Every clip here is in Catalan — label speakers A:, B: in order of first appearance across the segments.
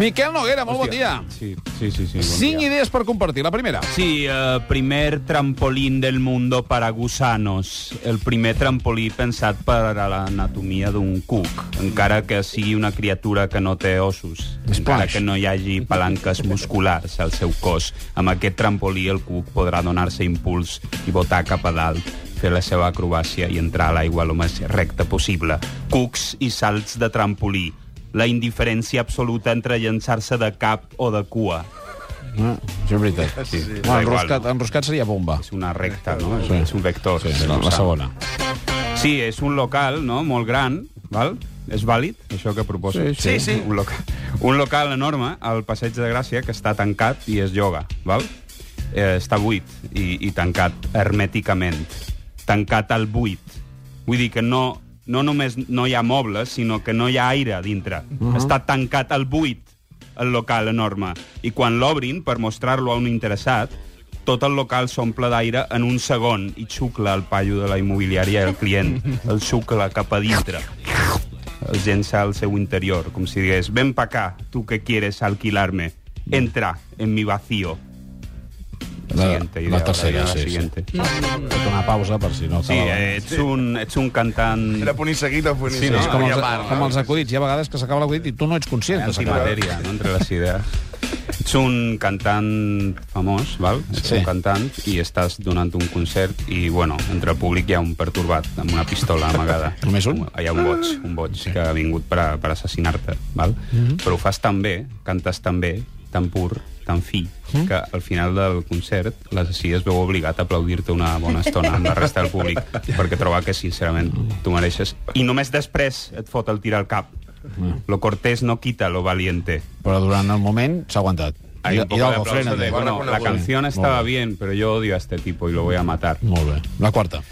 A: Miquel Noguera, molt
B: Hòstia,
A: bon dia.
B: Sí, sí, sí. sí bon
A: Cinc
B: dia.
A: idees per compartir. La primera.
C: Sí, eh, primer trampolín del mundo para gusanos. El primer trampolí pensat per a l'anatomia d'un cuc, encara que sigui una criatura que no té ossos,
A: Splash.
C: encara que no hi hagi palanques musculars al seu cos. Amb aquest trampolí el cuc podrà donar-se impuls i botar cap a dalt, fer la seva acrobàcia i entrar a l'aigua lo més recte possible. Cucs i salts de trampolí. La indiferència absoluta entre llançar-se de cap o de cua.
A: Ah, això és veritat. Sí.
C: Da
A: No,
C: igual,
A: enroscat,
C: no?
A: enroscat seria bomba.
C: És una recta, no? Sí. És un vector.
A: Sí, la, la segona.
C: Sí, és un local, no?, molt gran, val? És vàlid, això que proposo?
A: Sí, sí. Sí, sí.
C: Un, local, un local enorme al Passeig de Gràcia que està tancat i es lloga, val? Eh, està buit i, i tancat hermèticament. Tancat al buit. Vull dir que no, no només no hi ha mobles, sinó que no hi ha aire a dintre.
A: Mhm.
C: Uh -huh. Està tancat al buit, el local enorme. I quan l'obrin, per mostrar-lo a un interessat, tot el local s'omple d'aire en un segon i xucla el paio de la immobiliària i el client. El xucla cap a dintre. Els llença al seu interior, com si digués «Ven pa acá, tu que quieres alquilarme. Entra en mi vacío».
A: La- la
C: siguiente idea, ahora
A: tercera,
C: ya la
A: sí, sí.
C: siguiente.
A: Fet una pausa per si no
C: Sí, eh, ets un, ets un cantant...
D: Era punt i seguit o punt i
C: Sí,
D: seguit.
C: no?
A: és com els,
D: Maria Mar,
A: com
D: no?
A: els acudits. Hi ha vegades que s'acaba l'acudit i tu no ets conscient que s'acaba.
C: antimatèria, no? entre les idees. Ets un cantant famós, val? Ets
A: Sí.
C: un cantant i estàs donant un concert i, bueno, entre el públic hi ha un pertorbat amb una pistola amagada.
A: Només un?
C: Hi ha un boig, un boig sí. que ha vingut per, a, per assassinar-te, val? Mm -hmm. Però ho fas tan bé, cantes tan bé, tan pur, tan fi, que al final del concert l'assassí es veu obligat a aplaudir-te una bona estona amb la resta del públic perquè troba que sincerament tu mereixes i només després et fot el tir al cap lo cortés no quita lo valiente
A: Però durant el moment s'ha aguantat.
C: Hay un poco de
A: Hidalgo,
C: aplauso de,
A: frena-te.
C: bueno, la canción estaba bien, pero yo odio a este tipo y lo voy a matar.
A: Molt bé. La quarta.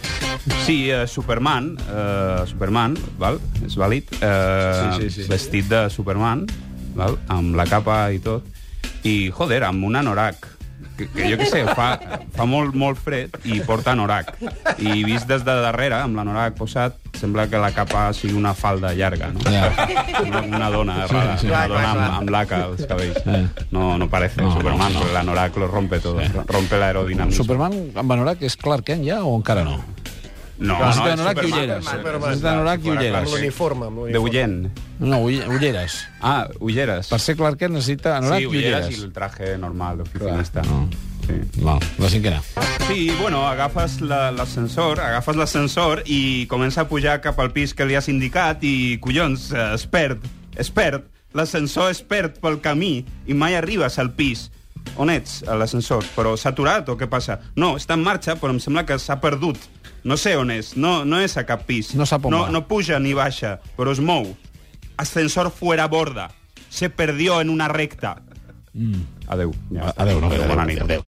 C: Sí, eh, Superman, eh, Superman, val? És vàlid. Eh,
D: Sí, sí, sí.
C: Vestit de Superman, val? Amb la capa i tot. I, joder, amb un anorac. Que, que jo què sé, fa, fa molt, molt fred i porta anorac. I vist des de darrere, amb l'anorac posat, sembla que la capa sigui una falda llarga, no?
A: Ja.
C: Una, una dona, rara,
A: sí.
C: una
D: Clar,
C: dona amb,
D: clar, clar.
C: amb laca als cabells.
A: Eh.
C: No, no parece
A: No,
C: Superman,
A: no, no.
C: porque el anorak lo rompe todo, rompe el aerodinamismo.
A: Superman amb anorac és Clark Kent ja o encara no?
C: No,
A: Necessita
C: és
A: anorac i
C: Superman.
A: ulleres.
C: Superman.
A: Necessita anorac i
C: Clar, clar,
A: ulleres.
C: sí.
E: L'uniforme, amb
C: De
E: l'uniforme.
C: Ullent.
A: No, ull- ulleres.
C: Ah, ulleres.
A: Per ser Clark Kent necessita anorac
C: sí,
A: i
C: ulleres i
A: ulleres.
C: el traje normal d'oficinista.
A: Clar, no.
C: Sí.
A: Val. La cinquena.
C: Sí, bueno, agafes la- l'ascensor, agafes l'ascensor i comença a pujar cap al pis que li has indicat i, collons, eh, es perd, es perd. L'ascensor es perd pel camí i mai arribes al pis. On ets, a l'ascensor? Però s'ha aturat o què passa? No, està en marxa, però em sembla que s'ha perdut. No sé on és, no, no és a cap pis.
A: No sap on
C: no,
A: va.
C: no puja ni baixa, però es mou. Ascensor fuera borda. Se perdió en una recta. Mm. Adeu. Ja està.
A: Adéu, no,
C: Bona
A: adéu,
C: nit.
A: adéu.